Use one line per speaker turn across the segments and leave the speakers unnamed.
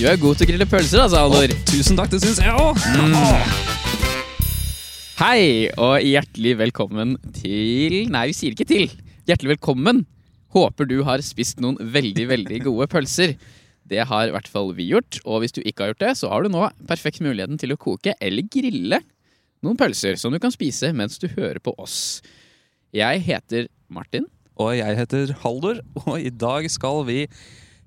Du er god til å grille pølser, altså, Aldor.
Tusen takk, det syns jeg òg.
Hei, og hjertelig velkommen til Nei, vi sier ikke til. Hjertelig velkommen. Håper du har spist noen veldig, veldig gode pølser. Det har i hvert fall vi gjort, og hvis du ikke har gjort det, så har du nå perfekt muligheten til å koke eller grille noen pølser som du kan spise mens du hører på oss. Jeg heter Martin.
Og jeg heter Haldor, og i dag skal vi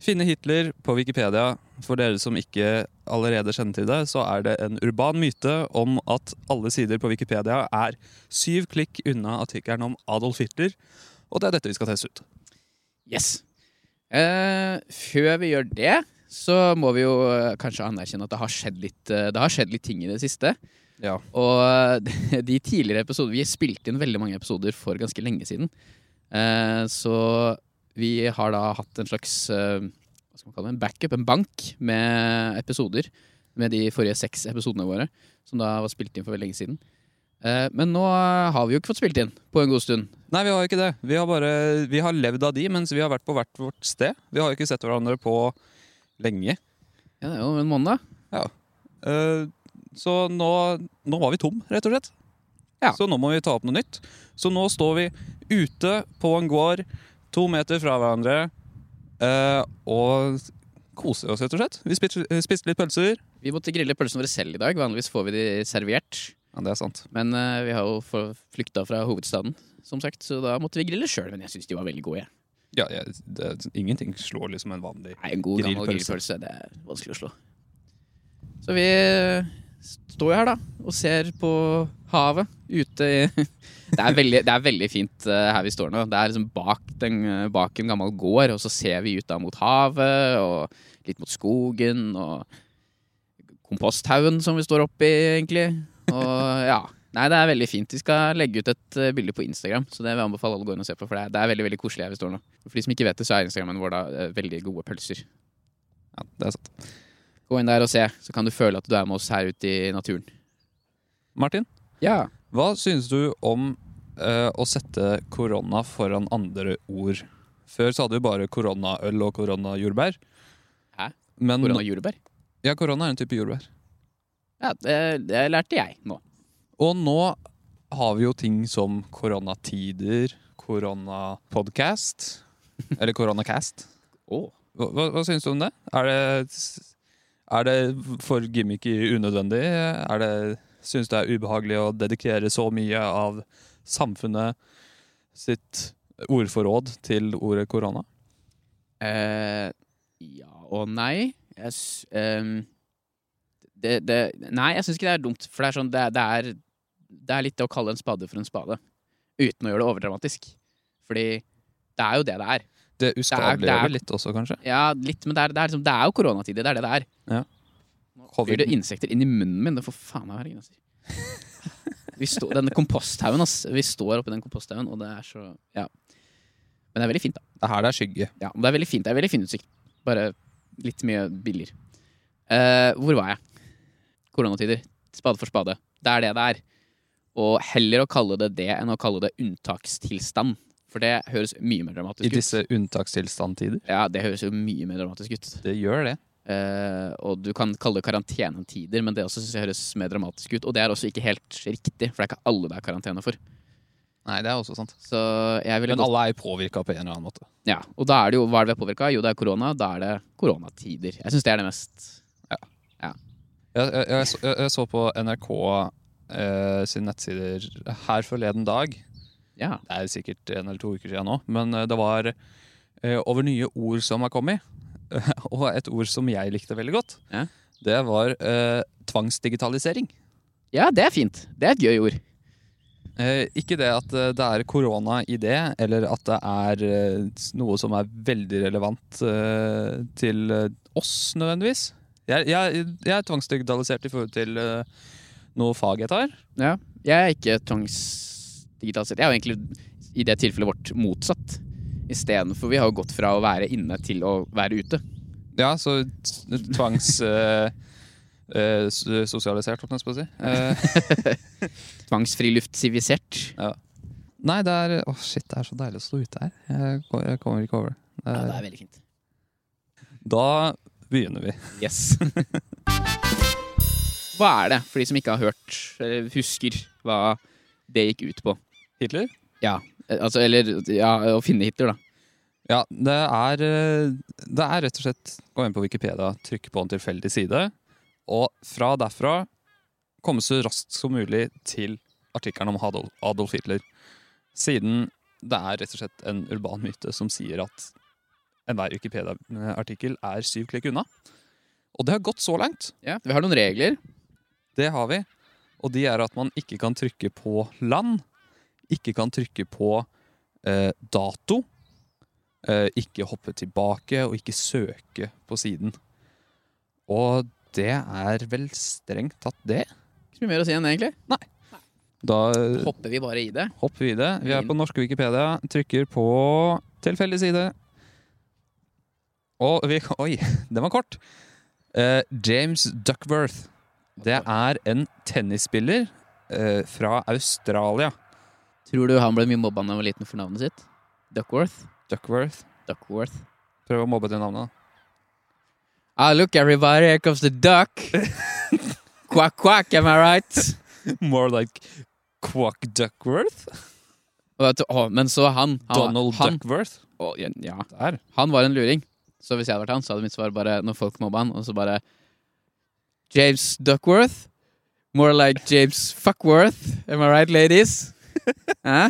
finne Hitler på Wikipedia. For dere som ikke allerede kjenner til det, så er det en urban myte om at alle sider på Wikipedia er syv klikk unna artikkelen om Adolf Hitler. Og det er dette vi skal teste ut.
Yes. Eh, før vi gjør det, så må vi jo eh, kanskje anerkjenne at det har skjedd litt, eh, det har skjedd litt ting i det siste.
Ja.
Og eh, de tidligere episoder Vi spilte inn veldig mange episoder for ganske lenge siden. Eh, så vi har da hatt en slags eh, hva skal man kalle det, en backup, en bank, med episoder. Med de forrige seks episodene våre, som da var spilt inn for veldig lenge siden. Eh, men nå har vi jo ikke fått spilt inn på en god stund.
Nei, vi har ikke det. Vi har, bare, vi har levd av de mens vi har vært på hvert vårt sted. Vi har jo ikke sett hverandre på lenge.
Ja, det er jo en måned.
Eh, Så nå, nå var vi tom, rett og slett.
Ja.
Så nå må vi ta opp noe nytt. Så nå står vi ute på en gård, to meter fra hverandre, eh, og koser oss, rett og slett. Vi spiste, eh, spiste litt pølser.
Vi måtte grille pølsene våre selv i dag. Vanligvis får vi de servert.
Ja, det er sant.
Men eh, vi har jo for- flykta fra hovedstaden, som sagt, så da måtte vi grille sjøl. Men jeg syns de var veldig gode. jeg.
Ja, jeg- det, ingenting slår liksom en vanlig
Nei, en god gammel
Grillpølse.
grillpølse, det er vanskelig å slå. Så vi eh, står jo her, da, og ser på havet ute i Det er veldig, det er veldig fint eh, her vi står nå. Det er liksom bak, den, eh, bak en gammel gård, og så ser vi ut da mot havet og litt mot skogen og komposthaugen som vi står oppi, egentlig. Og ja. Nei, det er veldig fint. Vi skal legge ut et eh, bilde på Instagram, så det vil jeg anbefale alle å gå inn og se på, for det er, det er veldig veldig koselig her vi står nå. For de som ikke vet det, så er Instagrammen vår da eh, veldig gode pølser.
Ja, det er sant.
Gå inn der og se, så kan du føle at du er med oss her ute i naturen.
Martin,
Ja.
hva synes du om eh, å sette korona foran andre ord? Før så hadde vi bare koronaøl og koronajordbær.
Hæ?
Men,
Korona og jordbær.
ja, korona er en type jordbær.
Ja, det, det lærte jeg nå.
Og nå har vi jo ting som koronatider, koronapodcast, eller koronacast.
Oh.
Hva, hva, hva syns du om det? Er det, er det for gimmicky unødvendig? Er det, syns du det er ubehagelig å dedikere så mye av samfunnet sitt ordforråd til ordet korona?
Eh, ja og nei. Jeg, s- ehm, det, det, nei, jeg syns ikke det er dumt, for det er, sånn, det, er- det, er, det er litt det å kalle en spade for en spade. Uten å gjøre det overdramatisk. Fordi det er jo det det er.
Det
det er-
uskadeliggjør det litt også, kanskje?
Ja, litt, men det er, det er, liksom, det er jo koronatider. Det er det det er.
Ja.
Nå blir det insekter inn i munnen min. Det får faen meg være grenser. Vi står, denne komposthaugen, ass. Vi står oppi den komposthaugen, og det er så Ja. Men det er veldig fint, da.
Det er her det er skygge.
Ja, men det er veldig fint. Det er veldig fin utsikt. Bare litt mye billigere. Eh, hvor var jeg? Koronatider. Spade for spade. Det er det det er. Og heller å kalle det det enn å kalle det unntakstilstand. For det høres mye mer dramatisk
I
ut.
disse unntakstilstandtider.
Ja, det høres jo mye mer dramatisk ut.
Det gjør det.
Eh, og du kan kalle det karantenetider, men det også synes jeg høres mer dramatisk ut. Og det er også ikke helt riktig, for det er ikke alle det er karantene for.
Nei, det er også sant.
Så jeg ville
Men alle er påvirka på en eller annen måte.
Ja, og da er det jo, hva er det vi er påvirka av? Jo, det er korona. Da er det koronatider. Jeg syns det er det mest
Jeg, jeg, jeg, så- jeg, jeg så på NRK eh, sine nettsider her forleden dag.
Ja.
Det er sikkert en eller to uker siden nå. Men eh, det var eh, over nye ord som har kommet. Og et ord som jeg likte veldig godt.
Ja.
Det var eh, tvangsdigitalisering.
ja, det er fint. Det er et gøy ord.
Eh, ikke det at eh, det er korona i det, eller at det er eh, noe som er veldig relevant eh, til eh, oss, nødvendigvis. Jeg, jeg, jeg er tvangsdigitalisert i forhold til eh, noe fag jeg tar.
Ja. Jeg er ikke tvangsdigitalisert. Jeg er jo egentlig i det tilfellet vårt motsatt. Istedenfor Vi har jo gått fra å være inne til å være ute.
Ja, så t- tvangs... eh, eh, s- sosialisert, holdt jeg på å si. Eh,
Tvangsfriluftsivilisert.
nei, det er Å, shit, det er så
Eh,
deilig å stå ute her. Jeg, ko- jeg kommer ikke over det.
Ja,
det.
det
er-
er veldig fint.
Eh, Da begynner vi.
Yes. Hva er det, for de som ikke har hørt, eller husker, hva det gikk ut på?
Hitler?
Ja, eh, altså, eller ja, å finne Hitler, da.
Ja, det er, eh, det er rett og slett gå inn på Wikipedia, trykke på en tilfeldig side, og fra derfra komme så raskt som mulig til artikkelen om Adol- Adolf Hitler. Siden det er rett og slett en urban myte som sier at enhver Wikipedia-artikkel er syv klikk unna. Og det har gått så langt.
Ja. Vi har noen regler.
Det har vi. Og de er at man ikke kan trykke på land, ikke kan trykke på eh, dato, eh, ikke hoppe tilbake og ikke søke på siden. Og det er vel strengt tatt det.
Ikke så mye mer å si enn det, egentlig.
Da
Hopper vi bare i det.
hopper vi i det. Vi er på norske Wikipedia, trykker på tilfeldig side. Og vi Oi, den var kort. Eh, James Duckworth. Det er en tennisspiller eh, fra Australia.
Tror du han ble mye mobba da han var liten for navnet sitt? Duckworth?
Duckworth.
Duckworth.
Prøv å mobbe til navnet. da.
Ah, look everybody, here comes the duck. quack, quack, am I right?
More like Quack Duckworth.
Og vet du, å, men så han. han
Donald
han,
Duckworth.
å, ja, ja,
Der.
han var en luring. Så hvis jeg hadde vært han, så hadde mitt svar bare når folk mobba han, og så bare James Duckworth. More like James Fuckworth. Am I right, ladies? Hæ?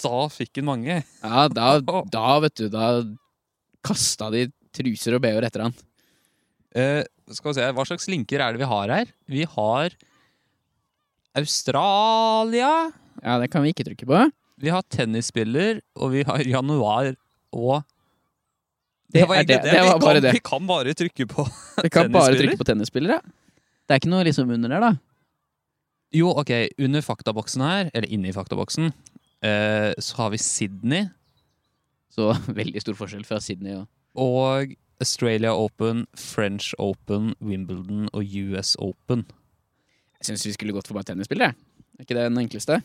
Da fikk han mange.
Ja, da, da, vet du, da kasta de truser og bh-er etter han.
Eh, skal vi se, Hva slags linker er det vi har her? Vi har Australia.
Ja, det kan vi ikke trykke på.
Vi har tennisspiller, og vi har januar og
Det er det. Det var
vi,
bare
kan,
det.
vi kan bare trykke på
Vi kan bare
Tennisspiller?
trykke på tennisspillere. Det er ikke noe liksom under der, da.
Jo, ok, under faktaboksen her, eller inne i faktaboksen, eh, så har vi Sydney
Så veldig stor forskjell fra Sydney og
og Australia Open, French Open, Wimbledon og US Open.
Jeg syns vi skulle gått for bare tennisspillere. Er ikke det den enkleste?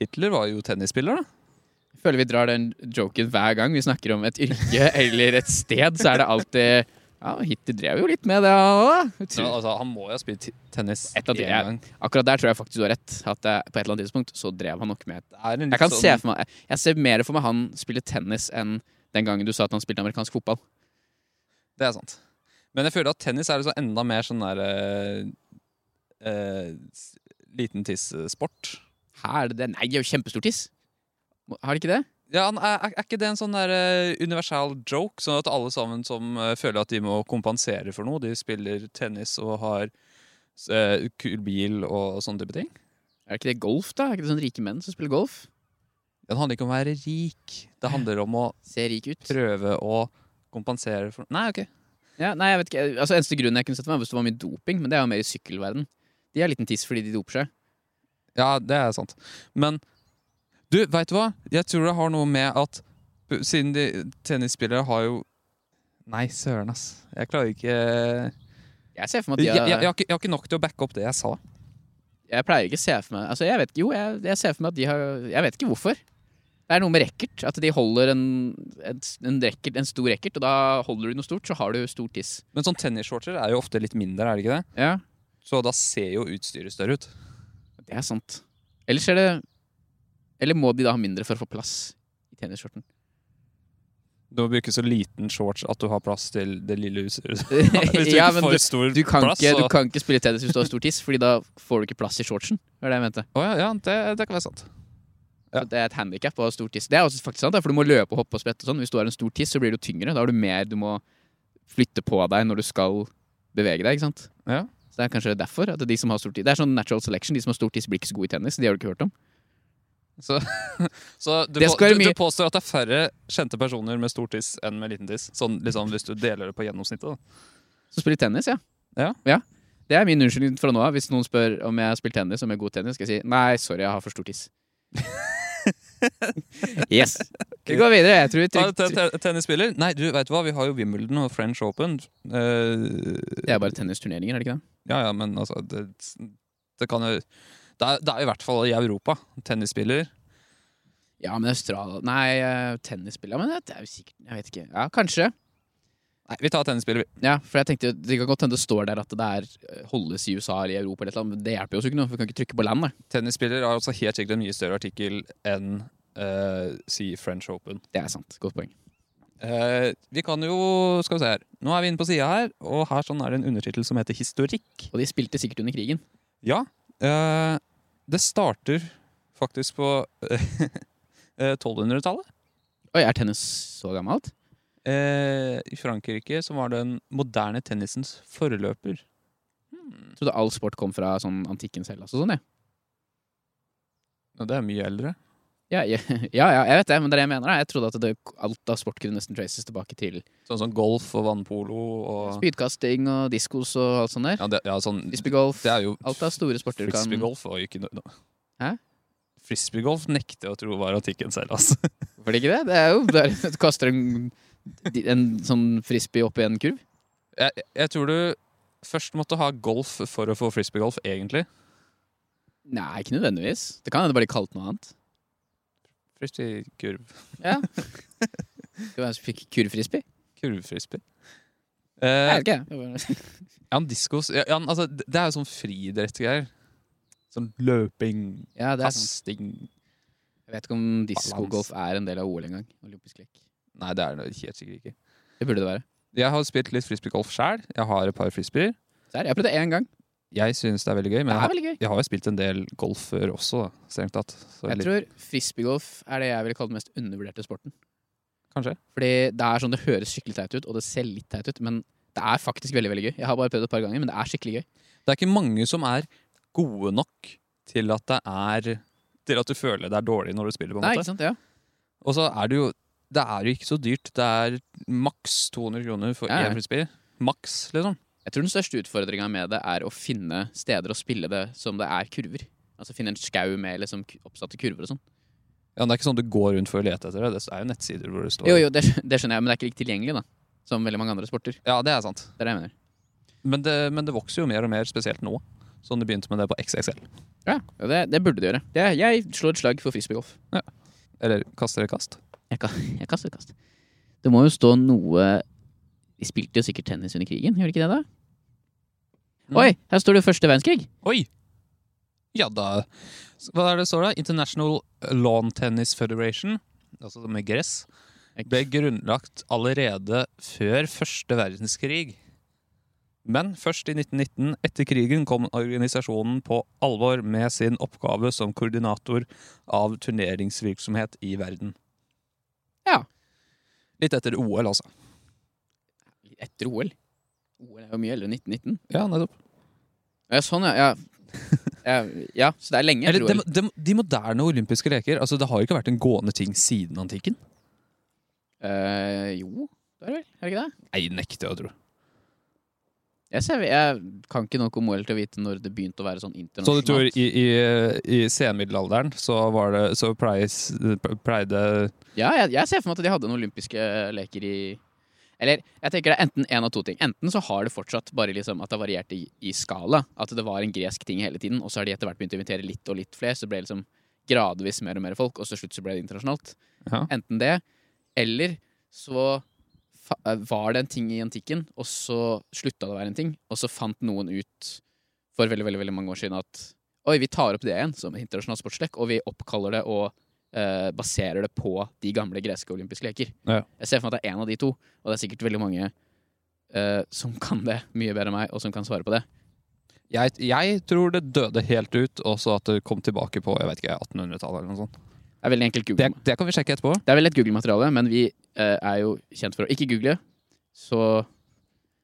Hitler var jo tennisspiller, da.
Jeg føler vi drar den joken hver gang vi snakker om et yrke eller et sted, så er det alltid Ja, Hitler drev jo litt med det, han òg.
Ja, altså, han må jo ha spilt ti- tennis
Et av de
en
er-
gang.
Akkurat der tror jeg faktisk du har rett. At eh, på et eller annet tidspunkt så drev han nok med
Det er en litt
Jeg kan
sånn-
se for meg Jeg ser mer for meg han spille tennis enn den gangen du sa at han spilte amerikansk fotball.
Det er sant. Men jeg føler at tennis er liksom enda mer sånn der eh, eh, s- liten tiss-sport.
Her er det det Nei, det er jo kjempestor tiss! Har de ikke det?
Ja, han- er, er er ikke det en sånn der eh, universal joke? Sånn at alle sammen som eh, føler at de må kompensere for noe, de spiller tennis og har eh, kul bil og sånne type ting?
Er det ikke det golf, da? Er det ikke det sånn rike menn som spiller golf?
Det handler ikke om å være rik. Det handler om å
Ser rik ut.
prøve å kompensere for Nei, ok.
Ja, nei, jeg vet ikke. Altså, Eneste grunnen jeg kunne sett for meg, var hvis det var mye doping, men det er jo mer i sykkelverden. De har liten tiss fordi de doper seg.
Ja, det er sant. Men du, veit du hva? Jeg tror det har noe med at Siden de tennisspillere har jo Nei, søren, ass. Jeg klarer ikke jeg,
Jeg ser for meg at
jeg,
de
jeg,
har,
har ikke, jeg har ikke nok til å backe opp det jeg sa.
Jeg pleier ikke å se for meg Altså, jeg vet ikke Jo, jeg, jeg ser for meg at de har Jeg vet ikke hvorfor. Det er noe med racket. At de holder en, en, en, racket, en stor racket, og da holder du noe stort, så har du stor tiss.
Men sånn tennisshortser er jo ofte litt mindre, er det ikke det?
Ja,
Så da ser jo utstyret større ut.
det er sant. Ellers er det Eller må de da ha mindre for å få plass i tennisskjorten?
Du må bruke så liten shorts at du har plass til det lille utstyret. Hvis du
ja,
ikke
men
får
du,
stor
du, kan
plass,
ikke, du
så-
kan ikke spille tennis hvis du har stor tiss, Fordi da får du ikke plass i shortsen. Det var det jeg mente.
Å ja, ja det, det kan være sant.
Så
Ja.
Det er et handikap å ha stor tiss. Det er også faktisk sant, da, for du må løpe og hoppe og sprette og sånn. Hvis du har en stor tiss, så blir du tyngre. Da har du mer du må flytte på deg når du skal bevege deg, ikke sant.
Ja.
Så det er kanskje derfor at de som har stor tiss Det er sånn natural selection. De som har stor tiss, blir ikke så gode i tennis. De har du ikke hørt om.
Så du,
Det
på,
skal være
du, du
mye-
påstår at det er færre kjente personer med stor tiss enn med liten tiss? Sånn liksom hvis du deler det på gjennomsnittet, da.
Så spiller de tennis, ja.
Ja.
Det er min unnskyldning fra nå av. Hvis noen spør om jeg har spilt tennis, om jeg er god i tennis, skal jeg si nei, sorry, jeg har for stor tiss. yes. Vi går videre. Jeg tror vi
Ta
trygt-
te- te- Tennisspiller? Nei, du vet du hva, vi har jo Wimbledon og French Open. Eh,
Det er bare tennisturneringer, er det ikke det?
ja ja, men altså Det, det kan jo det er, det er i hvert fall i Europa. Tennisspiller.
Ja, men Australia Nei, eh, tennisspill Ja, men det er jo sikkert Jeg vet ikke. Ja, kanskje.
Nei, vi tar tennisspillet, vi.
Ja, for jeg tenkte jo, Det kan godt hende det står der at det er, eh, holdes i USA eller i Europa, eller et eller annet, men det hjelper jo oss ikke noe. For vi kan ikke trykke på land. da.
Tennisspiller har også helt sikkert en mye større artikkel enn eh, si French Open.
Det er sant. Godt poeng.
Eh, vi kan jo Skal vi se her. Nå er vi inne på sida her, og her sånn er det en undertittel som heter Historikk.
Og de spilte sikkert under krigen.
Ja. eh, det starter faktisk på eh, 1200-tallet.
Oi, er tennis så gammelt?
Eh, I Frankrike så var den moderne tennisens forløper.
Jeg trodde all sport kom fra sånn antikkens Hellas og sånn, jeg.
Ja, det er mye eldre.
Ja, ja, ja, ja, jeg vet det, men det er det jeg mener. da. Jeg trodde at det, alt av sport kunne nesten traces tilbake til
Sånn som golf og vannpolo og
spydkasting og diskos og alt sånt der.
Ja, det, ja sånn Det
Frisbeegolf.
er jo
Alt av store sporter du kan
Frisbeegolf var jo ikke noe
Hæ?
Frisbeegolf nekter jeg å tro var antikken selv, altså.
Hvorfor ikke det? Det er jo bare at du kaster en, en sånn frisbee opp i en kurv.
Jeg, jeg tror du først måtte ha golf for å få frisbeegolf, egentlig.
Nei, ikke nødvendigvis. Det kan hende det bare de kalte noe annet.
Frisbeekurv.
Det var en som fikk kurvfrisbee.
Kurvfrisbee.
Jeg
Eh,
vet ikke. jeg. Det var-
ja, men diskos ja, ja, men altså, Det det er jo sånn friidrettsgreier. Sånn løping,
Ja, det er sant.
kasting
Jeg vet ikke om diskogolf er en del av OL engang. Olympisk lek.
Nei, det er det helt sikkert ikke.
Det burde det være.
Jeg har spilt litt frisbeegolf sjøl. Jeg har et par frisbeer.
Serr, jeg prøvde én gang.
Jeg syns det er veldig gøy, men
Det
jeg
er
har,
veldig gøy.
jeg har jo spilt en del golf før også, da, strengt tatt. Så
Jeg
litt,
tror frisbeegolf er det jeg ville kalle den mest undervurderte sporten.
Kanskje.
Fordi det er sånn det høres skikkelig teit ut, og det ser litt teit ut, men det er faktisk veldig veldig gøy. Jeg har bare prøvd det et par ganger, men det er skikkelig gøy.
Det er ikke mange som er gode nok til at det er Til at du føler det er dårlig når du spiller, på en
Nei, ikke
måte.
sant? Ja.
Og så er det jo Det er jo ikke så dyrt. Det er maks 200 kroner for
Ja, ja.
én frisbee. Maks, liksom.
Jeg tror den største utfordringa med det er å finne steder å spille det som det er kurver. Altså finne en skau med liksom ku- oppsatte kurver og sånn.
Ja, men det er ikke sånn du går rundt for å lete etter det. Det er jo nettsider hvor det står
Jo, jo, det, skj- det skjønner jeg, men det er ikke like tilgjengelig, da. Som veldig mange andre sporter.
Ja, det er sant.
Det er det jeg mener.
Men det, men det vokser jo mer og mer, spesielt nå. Sånn det begynte med det på XXL.
Ja, ja, det, det burde du gjøre. Det, jeg slår et slag for frisbeegolf.
Eller kaster eller kast.
Jeg, ka- jeg kaster et kast. Det må jo stå noe De spilte jo sikkert tennis under krigen, gjorde de ikke det, da?
Mm.
Oi, her står det jo første verdenskrig!
Oi! Ja da. Hva er det står da? International Lawn Tennis Federation, altså med gress, ble grunnlagt allerede før første verdenskrig. Men først i 1919, etter krigen, kom organisasjonen på alvor med sin oppgave som koordinator av turneringsvirksomhet i verden.
Ja.
Litt etter OL, altså.
Etter OL. OL er jo mye eldre enn 1919.
Ja, nettopp.
Ja, sånn, ja. Ja, ja, ja så det er lenge
Eller,
etter
de,
OL.
de, de moderne olympiske leker, altså det har jo ikke vært en gående ting siden antikken.
Eh, jo, det er det vel? Er det ikke det?
Nei, nekter jeg å tro.
Jeg, ser, jeg kan ikke nok om OL til å vite når det begynte å være sånn
Så du
internasjonalt.
tror i, i, i senmiddelalderen så, var det, så pleis, pleide
Ja, jeg, jeg ser for meg at de hadde noen olympiske leker i Eller jeg tenker det er enten en av to ting. Enten så har det fortsatt bare liksom at det varierte i, i skala. At det var en gresk ting hele tiden, og så har de etter hvert begynt å invitere litt og litt flere. Så det ble liksom gradvis mer og mer folk, og så til slutt så ble det internasjonalt.
Ja.
Enten det, eller så fa eh, var det en ting i antikken, og så slutta det å være en ting, og så fant noen ut for veldig, veldig, veldig mange år siden at Oi, vi tar opp det igjen som en internasjonal sportslek, og vi oppkaller det og eh, baserer det på de gamle greske olympiske leker.
Ja.
Jeg ser for meg at det er én av de to, og det er sikkert veldig mange eh, som kan det mye bedre enn meg, og som kan svare på det.
jeg, jeg tror det døde helt ut, og så at det kom tilbake på jeg vet ikke, 1800-tallet. eller noe sånt.
Det er veldig enkelt Google.
Det, det kan vi sjekke etterpå.
Det er veldig lett Google-materiale, men vi eh, er jo kjent for å ikke google. Så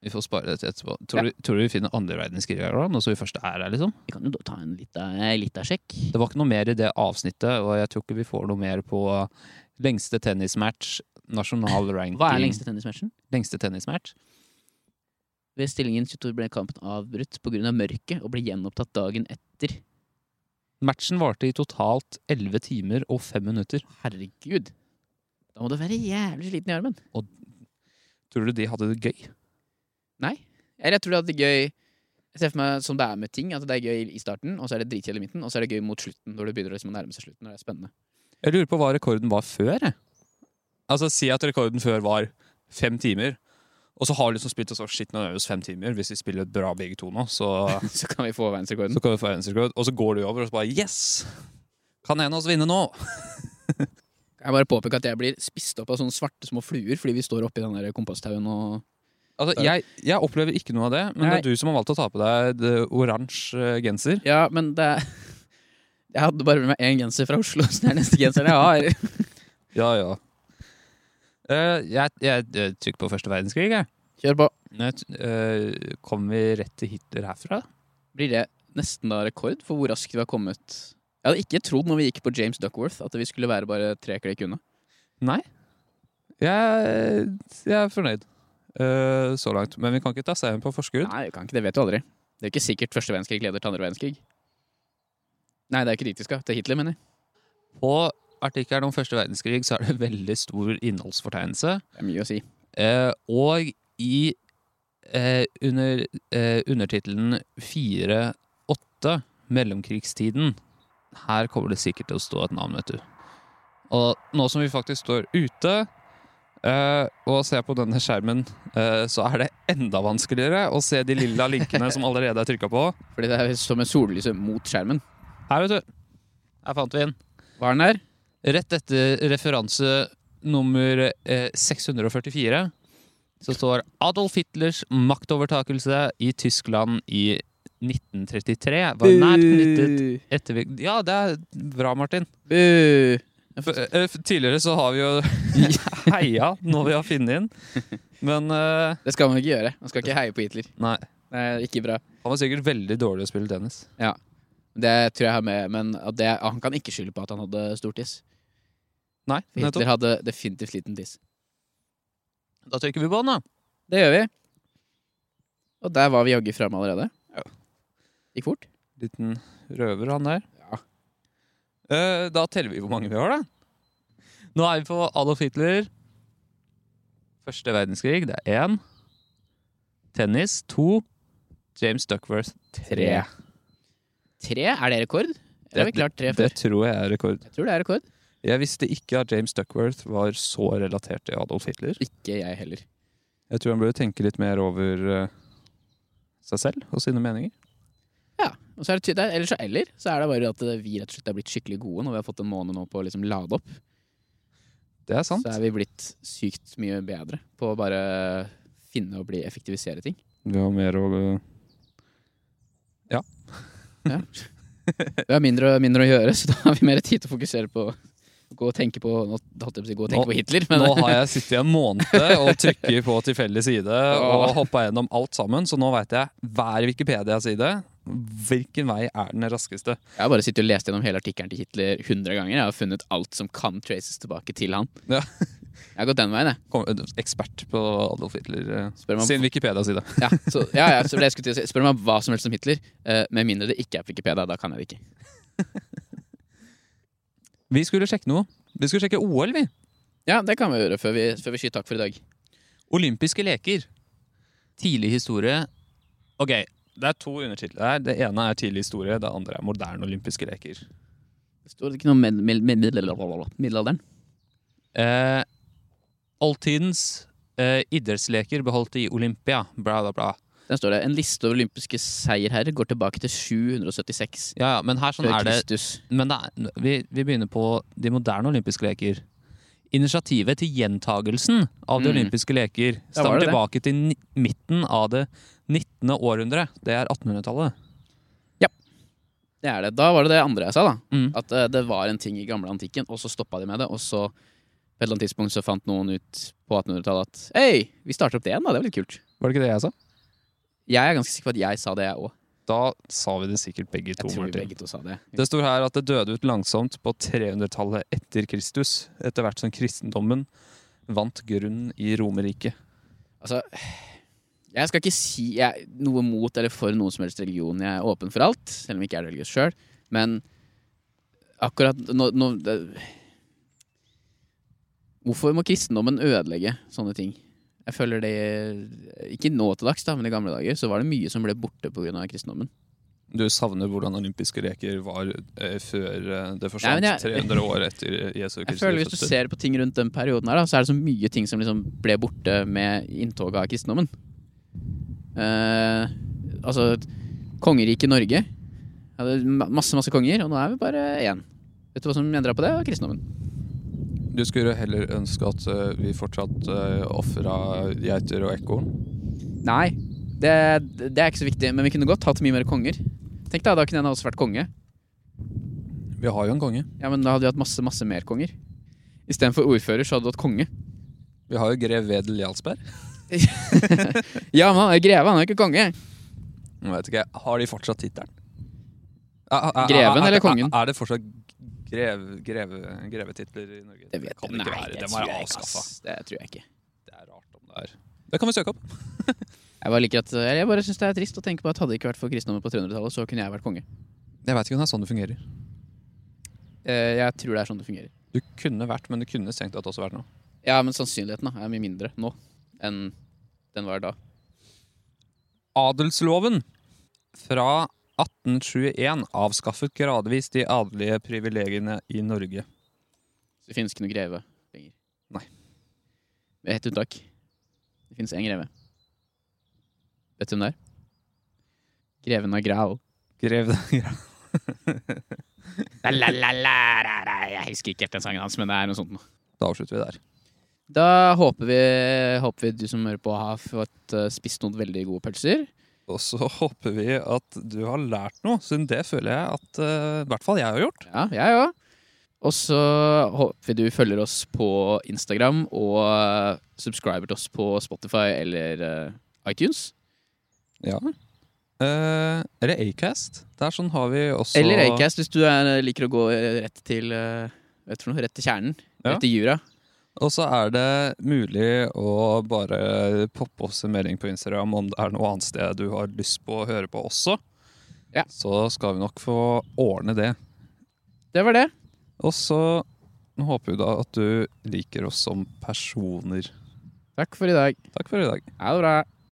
Vi får spare det til etterpå. Tror, du, tror du vi finner andre verdenskrig her, da, nå som vi først er her? liksom?
vi kan jo da ta en lita- eh, lita sjekk.
Det var ikke noe mer i det avsnittet, og jeg tror ikke vi får noe mer på lengste tennismatch, nasjonal ranking
Hva er lengste tennismatchen?
lengste tennismatch?
Ved stillingen 22 ble kampen avbrutt pga. Av mørket og ble gjenopptatt dagen etter.
Matchen varte i totalt 11 timer og 5 minutter.
Herregud. Da må du være jævlig sliten i armen.
Tror du de hadde det gøy?
Nei. Eller jeg tror det er gøy Jeg ser for meg som det er med ting, at det er gøy i starten, og så er det dritkjedelig i midten, og så er det gøy mot slutten, når det begynner å liksom nærme seg slutten, når det er spennende.
Jeg lurer på hva rekorden var før. Jeg. Altså, Si at rekorden før var fem timer, Og så har vi liksom spilt oss over skitten og øver oss fem timer. Hvis vi spiller bra begge to nå, så,
Så kan vi få verdensrekorden.
så kan vi få verdensrekord. Og så går det jo over, og så bare Yes! Kan en av oss vinne nå?
Jeg bare påpeker at jeg blir spist opp av sånne svarte små fluer fordi vi står oppi den der komposthaugen og
Altså, jeg, jeg opplever ikke noe av det, men det
Nei.
er du som har valgt å ta på deg det oransje eh, genser.
Ja, men det er Jeg hadde bare med meg én genser fra Oslo, så det er neste genseren jeg har.
Ja, ja. Eh, jeg, jeg, jeg trykker på første verdenskrig, jeg.
Kjør på.
Nå, eh, kommer vi rett til Hitler herfra?
Blir det nesten da rekord for hvor raskt vi har kommet? Jeg hadde ikke trodd når vi gikk på James Duckworth at vi skulle være bare tre klikk unna.
Jeg, jeg er fornøyd eh, så langt. Men vi kan ikke ta seieren på forskudd.
Nei, vi kan ikke det. Vet du aldri. Det er ikke sikkert første verdenskrig leder til andre verdenskrig. Nei, det er ikke dit vi skal. Til Hitler, mener jeg.
På artikkelen om første verdenskrig så er det veldig stor innholdsfortegnelse.
Det er mye å si.
Eh, og i eh, under, eh, undertittelen 4-8, mellomkrigstiden Her kommer det sikkert til å stå et navn, vet du. Og nå som vi faktisk står ute eh, og ser på denne skjermen, eh, så er det enda vanskeligere å se de lilla linkene som allerede er trykka på.
Fordi det er som en sollyse mot skjermen.
Her, vet du. Her fant vi den.
Var den der?
Rett etter referanse nummer eh, 644 så står Adolf Hitlers maktovertakelse i Tyskland i 1933 var nært knyttet ettervirk- Ja, det er bra, Martin.
Bu.
F eh, f- tidligere så har vi jo heia når vi har funnet inn, men eh,
Det skal man ikke gjøre. Man skal ikke heie på Hitler.
nei.
Det er ikke bra.
Han var sikkert veldig dårlig å spille tennis.
Det tror jeg har med, men at det, han kan ikke skylde på at han hadde stor tiss.
Nei,
Hitler
nettopp.
hadde definitivt liten tiss.
Da trykker vi på den, da.
Det gjør vi. Og der var vi jaggu framme allerede. Gikk fort.
Liten røver, han der.
Ja.
Eh, da teller vi hvor mange vi har, da. Nå er vi på Adolf Hitler. Første verdenskrig, det er én. Tennis, to. James Duckworth, tre.
Tre? Er det rekord? Eller har vi klart tre
Det
før?
tror jeg er rekord.
Jeg tror det er rekord.
Jeg visste ikke at James Duckworth var så relatert til Adolf Hitler.
Ikke jeg heller.
Jeg tror han burde tenke litt mer over eh, seg selv og sine meninger.
Og så er det, ty- det er, eller så eller, så er det bare at eh, vi rett og slett er blitt skikkelig gode når vi har fått en måned nå på å liksom lade opp.
Det er sant.
Så er vi blitt sykt mye bedre på å bare finne og bli effektivisere ting.
Vi har mer å eh,
Ja. Vi har mindre, mindre å gjøre, så da har vi mer tid til å fokusere på Gå og tenke på Nå holdt jeg på å si gå og tenke
Nå-
på Hitler, men
Nå har jeg sittet i en måned og trykker på tilfeldig side og hoppa gjennom alt sammen, så nå veit jeg hver Wikipedia-side hvilken vei er den raskeste.
Jeg har bare sittet og lest gjennom hele artikkelen til Hitler 100 ganger. Jeg har funnet alt som kan traces tilbake til han.
Ja.
Jeg har gått den veien, jeg.
Kom, ekspert på Adolf Hitler eh,
Spør meg om-
sin Wikipedia-side.
Ja, så, ja, ja, så det jeg skulle til å si. Spør meg om hva som helst om Hitler, eh, med mindre det ikke er på Wikipedia. Da kan jeg det ikke.
Vi skulle sjekke noe. Vi skulle sjekke OL, vi.
Ja, det kan vi gjøre før vi, før vi sier takk for i dag.
Olympiske leker. Tidlig historie. Ok, det er to undertitler her. Det ene er tidlig historie, det andre er moderne olympiske leker.
Det står ikke noe om med, med, med, middelalder- middelalderen.
Eh, oldtidens eh, idrettsleker beholdt i Olympia. Bla, bla, bla.
Der står det en liste over olympiske seierherrer går tilbake til 776
Ja, ja, men her sånn
før
er det
Kristus.
Men det er, vi, vi begynner på de moderne olympiske leker. Initiativet til gjentagelsen av de
Mm.
olympiske
Ja,
leker
var
stammer
det det?
tilbake til ni midten av det 19. århundre. Det er 1800-tallet.
Det er det. Da var det det andre jeg sa, da.
Mm.
At eh, det var en ting i gamle antikken, og så stoppa de med det. Og så på et eller annet tidspunkt så fant noen ut på 1800-tallet at Hei, vi starter opp det igjen, da. Det var litt kult.
Var det ikke det jeg sa?
Jeg er ganske sikker på at jeg sa det, jeg òg.
Da sa vi det sikkert begge
Jeg
to.
tror vi
Martin.
begge to sa det.
Det står her at det døde ut langsomt på 300-tallet etter Kristus, etter hvert som kristendommen vant grunn i Romerriket.
Altså, jeg skal ikke si jeg, noe mot eller for noen som helst religion. Jeg er åpen for alt, selv om jeg ikke er religiøs sjøl. Men akkurat nå, nå det, Hvorfor må kristendommen ødelegge sånne ting? Jeg føler det Ikke nå til dags, da, men i gamle dager så var det mye som ble borte pga. kristendommen.
Du savner hvordan olympiske leker var eh, før eh, det forsvant
Nei, men jeg-
300 år etter Jesu
Jeg
Kristi
føler Hvis du
fødsel.
ser på ting rundt den perioden, her da, så er det så mye ting som liksom ble borte med inntoget av kristendommen. Eh, altså Kongeriket Norge hadde ma- masse masse konger, og nå er vi bare én. Vet du hva som endra på det? Det var Kristendommen.
Du skulle heller ønske at eh, vi fortsatt uh, ofra geiter og ekorn.
Nei, det, det er ikke så viktig, men vi kunne godt hatt mye mer konger. Tenk deg, Da kunne en av oss vært konge.
Vi har jo en konge.
Ja, men Da hadde vi hatt masse masse mer konger. Istedenfor ordfører så hadde du hatt konge.
Vi har jo grev Wedel Jarlsberg.
Ja, men han er greve, han er ikke konge.
Jeg vet ikke, Har de fortsatt tittelen? Er- er- er-
Greven
er-
eller kongen?
Er, er det fortsatt grev, greve, grevetitler i Norge?
Det vet
kan
jeg
ikke
Nei,
være.
det
Det
tror
må være
jeg ikke,
avskaffa.
ass. Det tror jeg ikke.
Det er rart om det er Det kan vi søke opp.
Jeg bare liker at eh, Jeg bare synes det er trist å tenke på at hadde det ikke vært for kristendommen på 300-tallet, så kunne jeg vært konge.
Jeg veit ikke om det er sånn det fungerer.
Eh, Jeg tror det er sånn det fungerer.
Du kunne vært, men du kunne strengt tatt også vært noe.
Ja, men sannsynligheten da, er mye mindre nå enn den var da.
Adelsloven fra 1821 avskaffet gradvis de adelige privilegiene i Norge.
Så det finnes ikke noe greve lenger.
Nei.
Det er ett unntak. Det finnes én greve. Vet du hvem det er? Greven av Grau.
Grev
La, la, la, la, la, la. Jeg husker ikke helt den sangen hans, men det er noe sånt noe.
Da avslutter vi der.
Da håper vi, håper vi du som hører på, har fått eh, spist noen veldig gode pølser.
Og så håper vi at du har lært noe, siden det føler jeg at eh, i hvert fall jeg har gjort.
Ja, jeg òg. Og så håper vi du følger oss på Instagram og eh, subscriber til oss på Spotify eller eh, iTunes.
Ja. Eh, eller Acast. Der sånn har vi også
Eller Acast, hvis du er, liker å gå eh, rett til eh, Vet du for noe, rett til kjernen.
Ja.
Rett til jura.
Og så er det mulig å bare poppe oss en melding på Instagram om det er noe annet sted du har lyst på å høre på også.
Ja.
Så skal vi nok få ordne det.
Det var det.
Og så håper vi da at du liker oss som personer.
Takk for i dag.
Takk for i dag.
Ha det bra.